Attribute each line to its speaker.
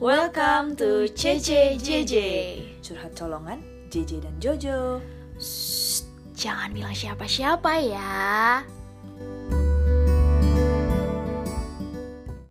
Speaker 1: Welcome to CCJJ.
Speaker 2: Curhat colongan, JJ dan Jojo.
Speaker 1: Shh, jangan bilang siapa-siapa ya.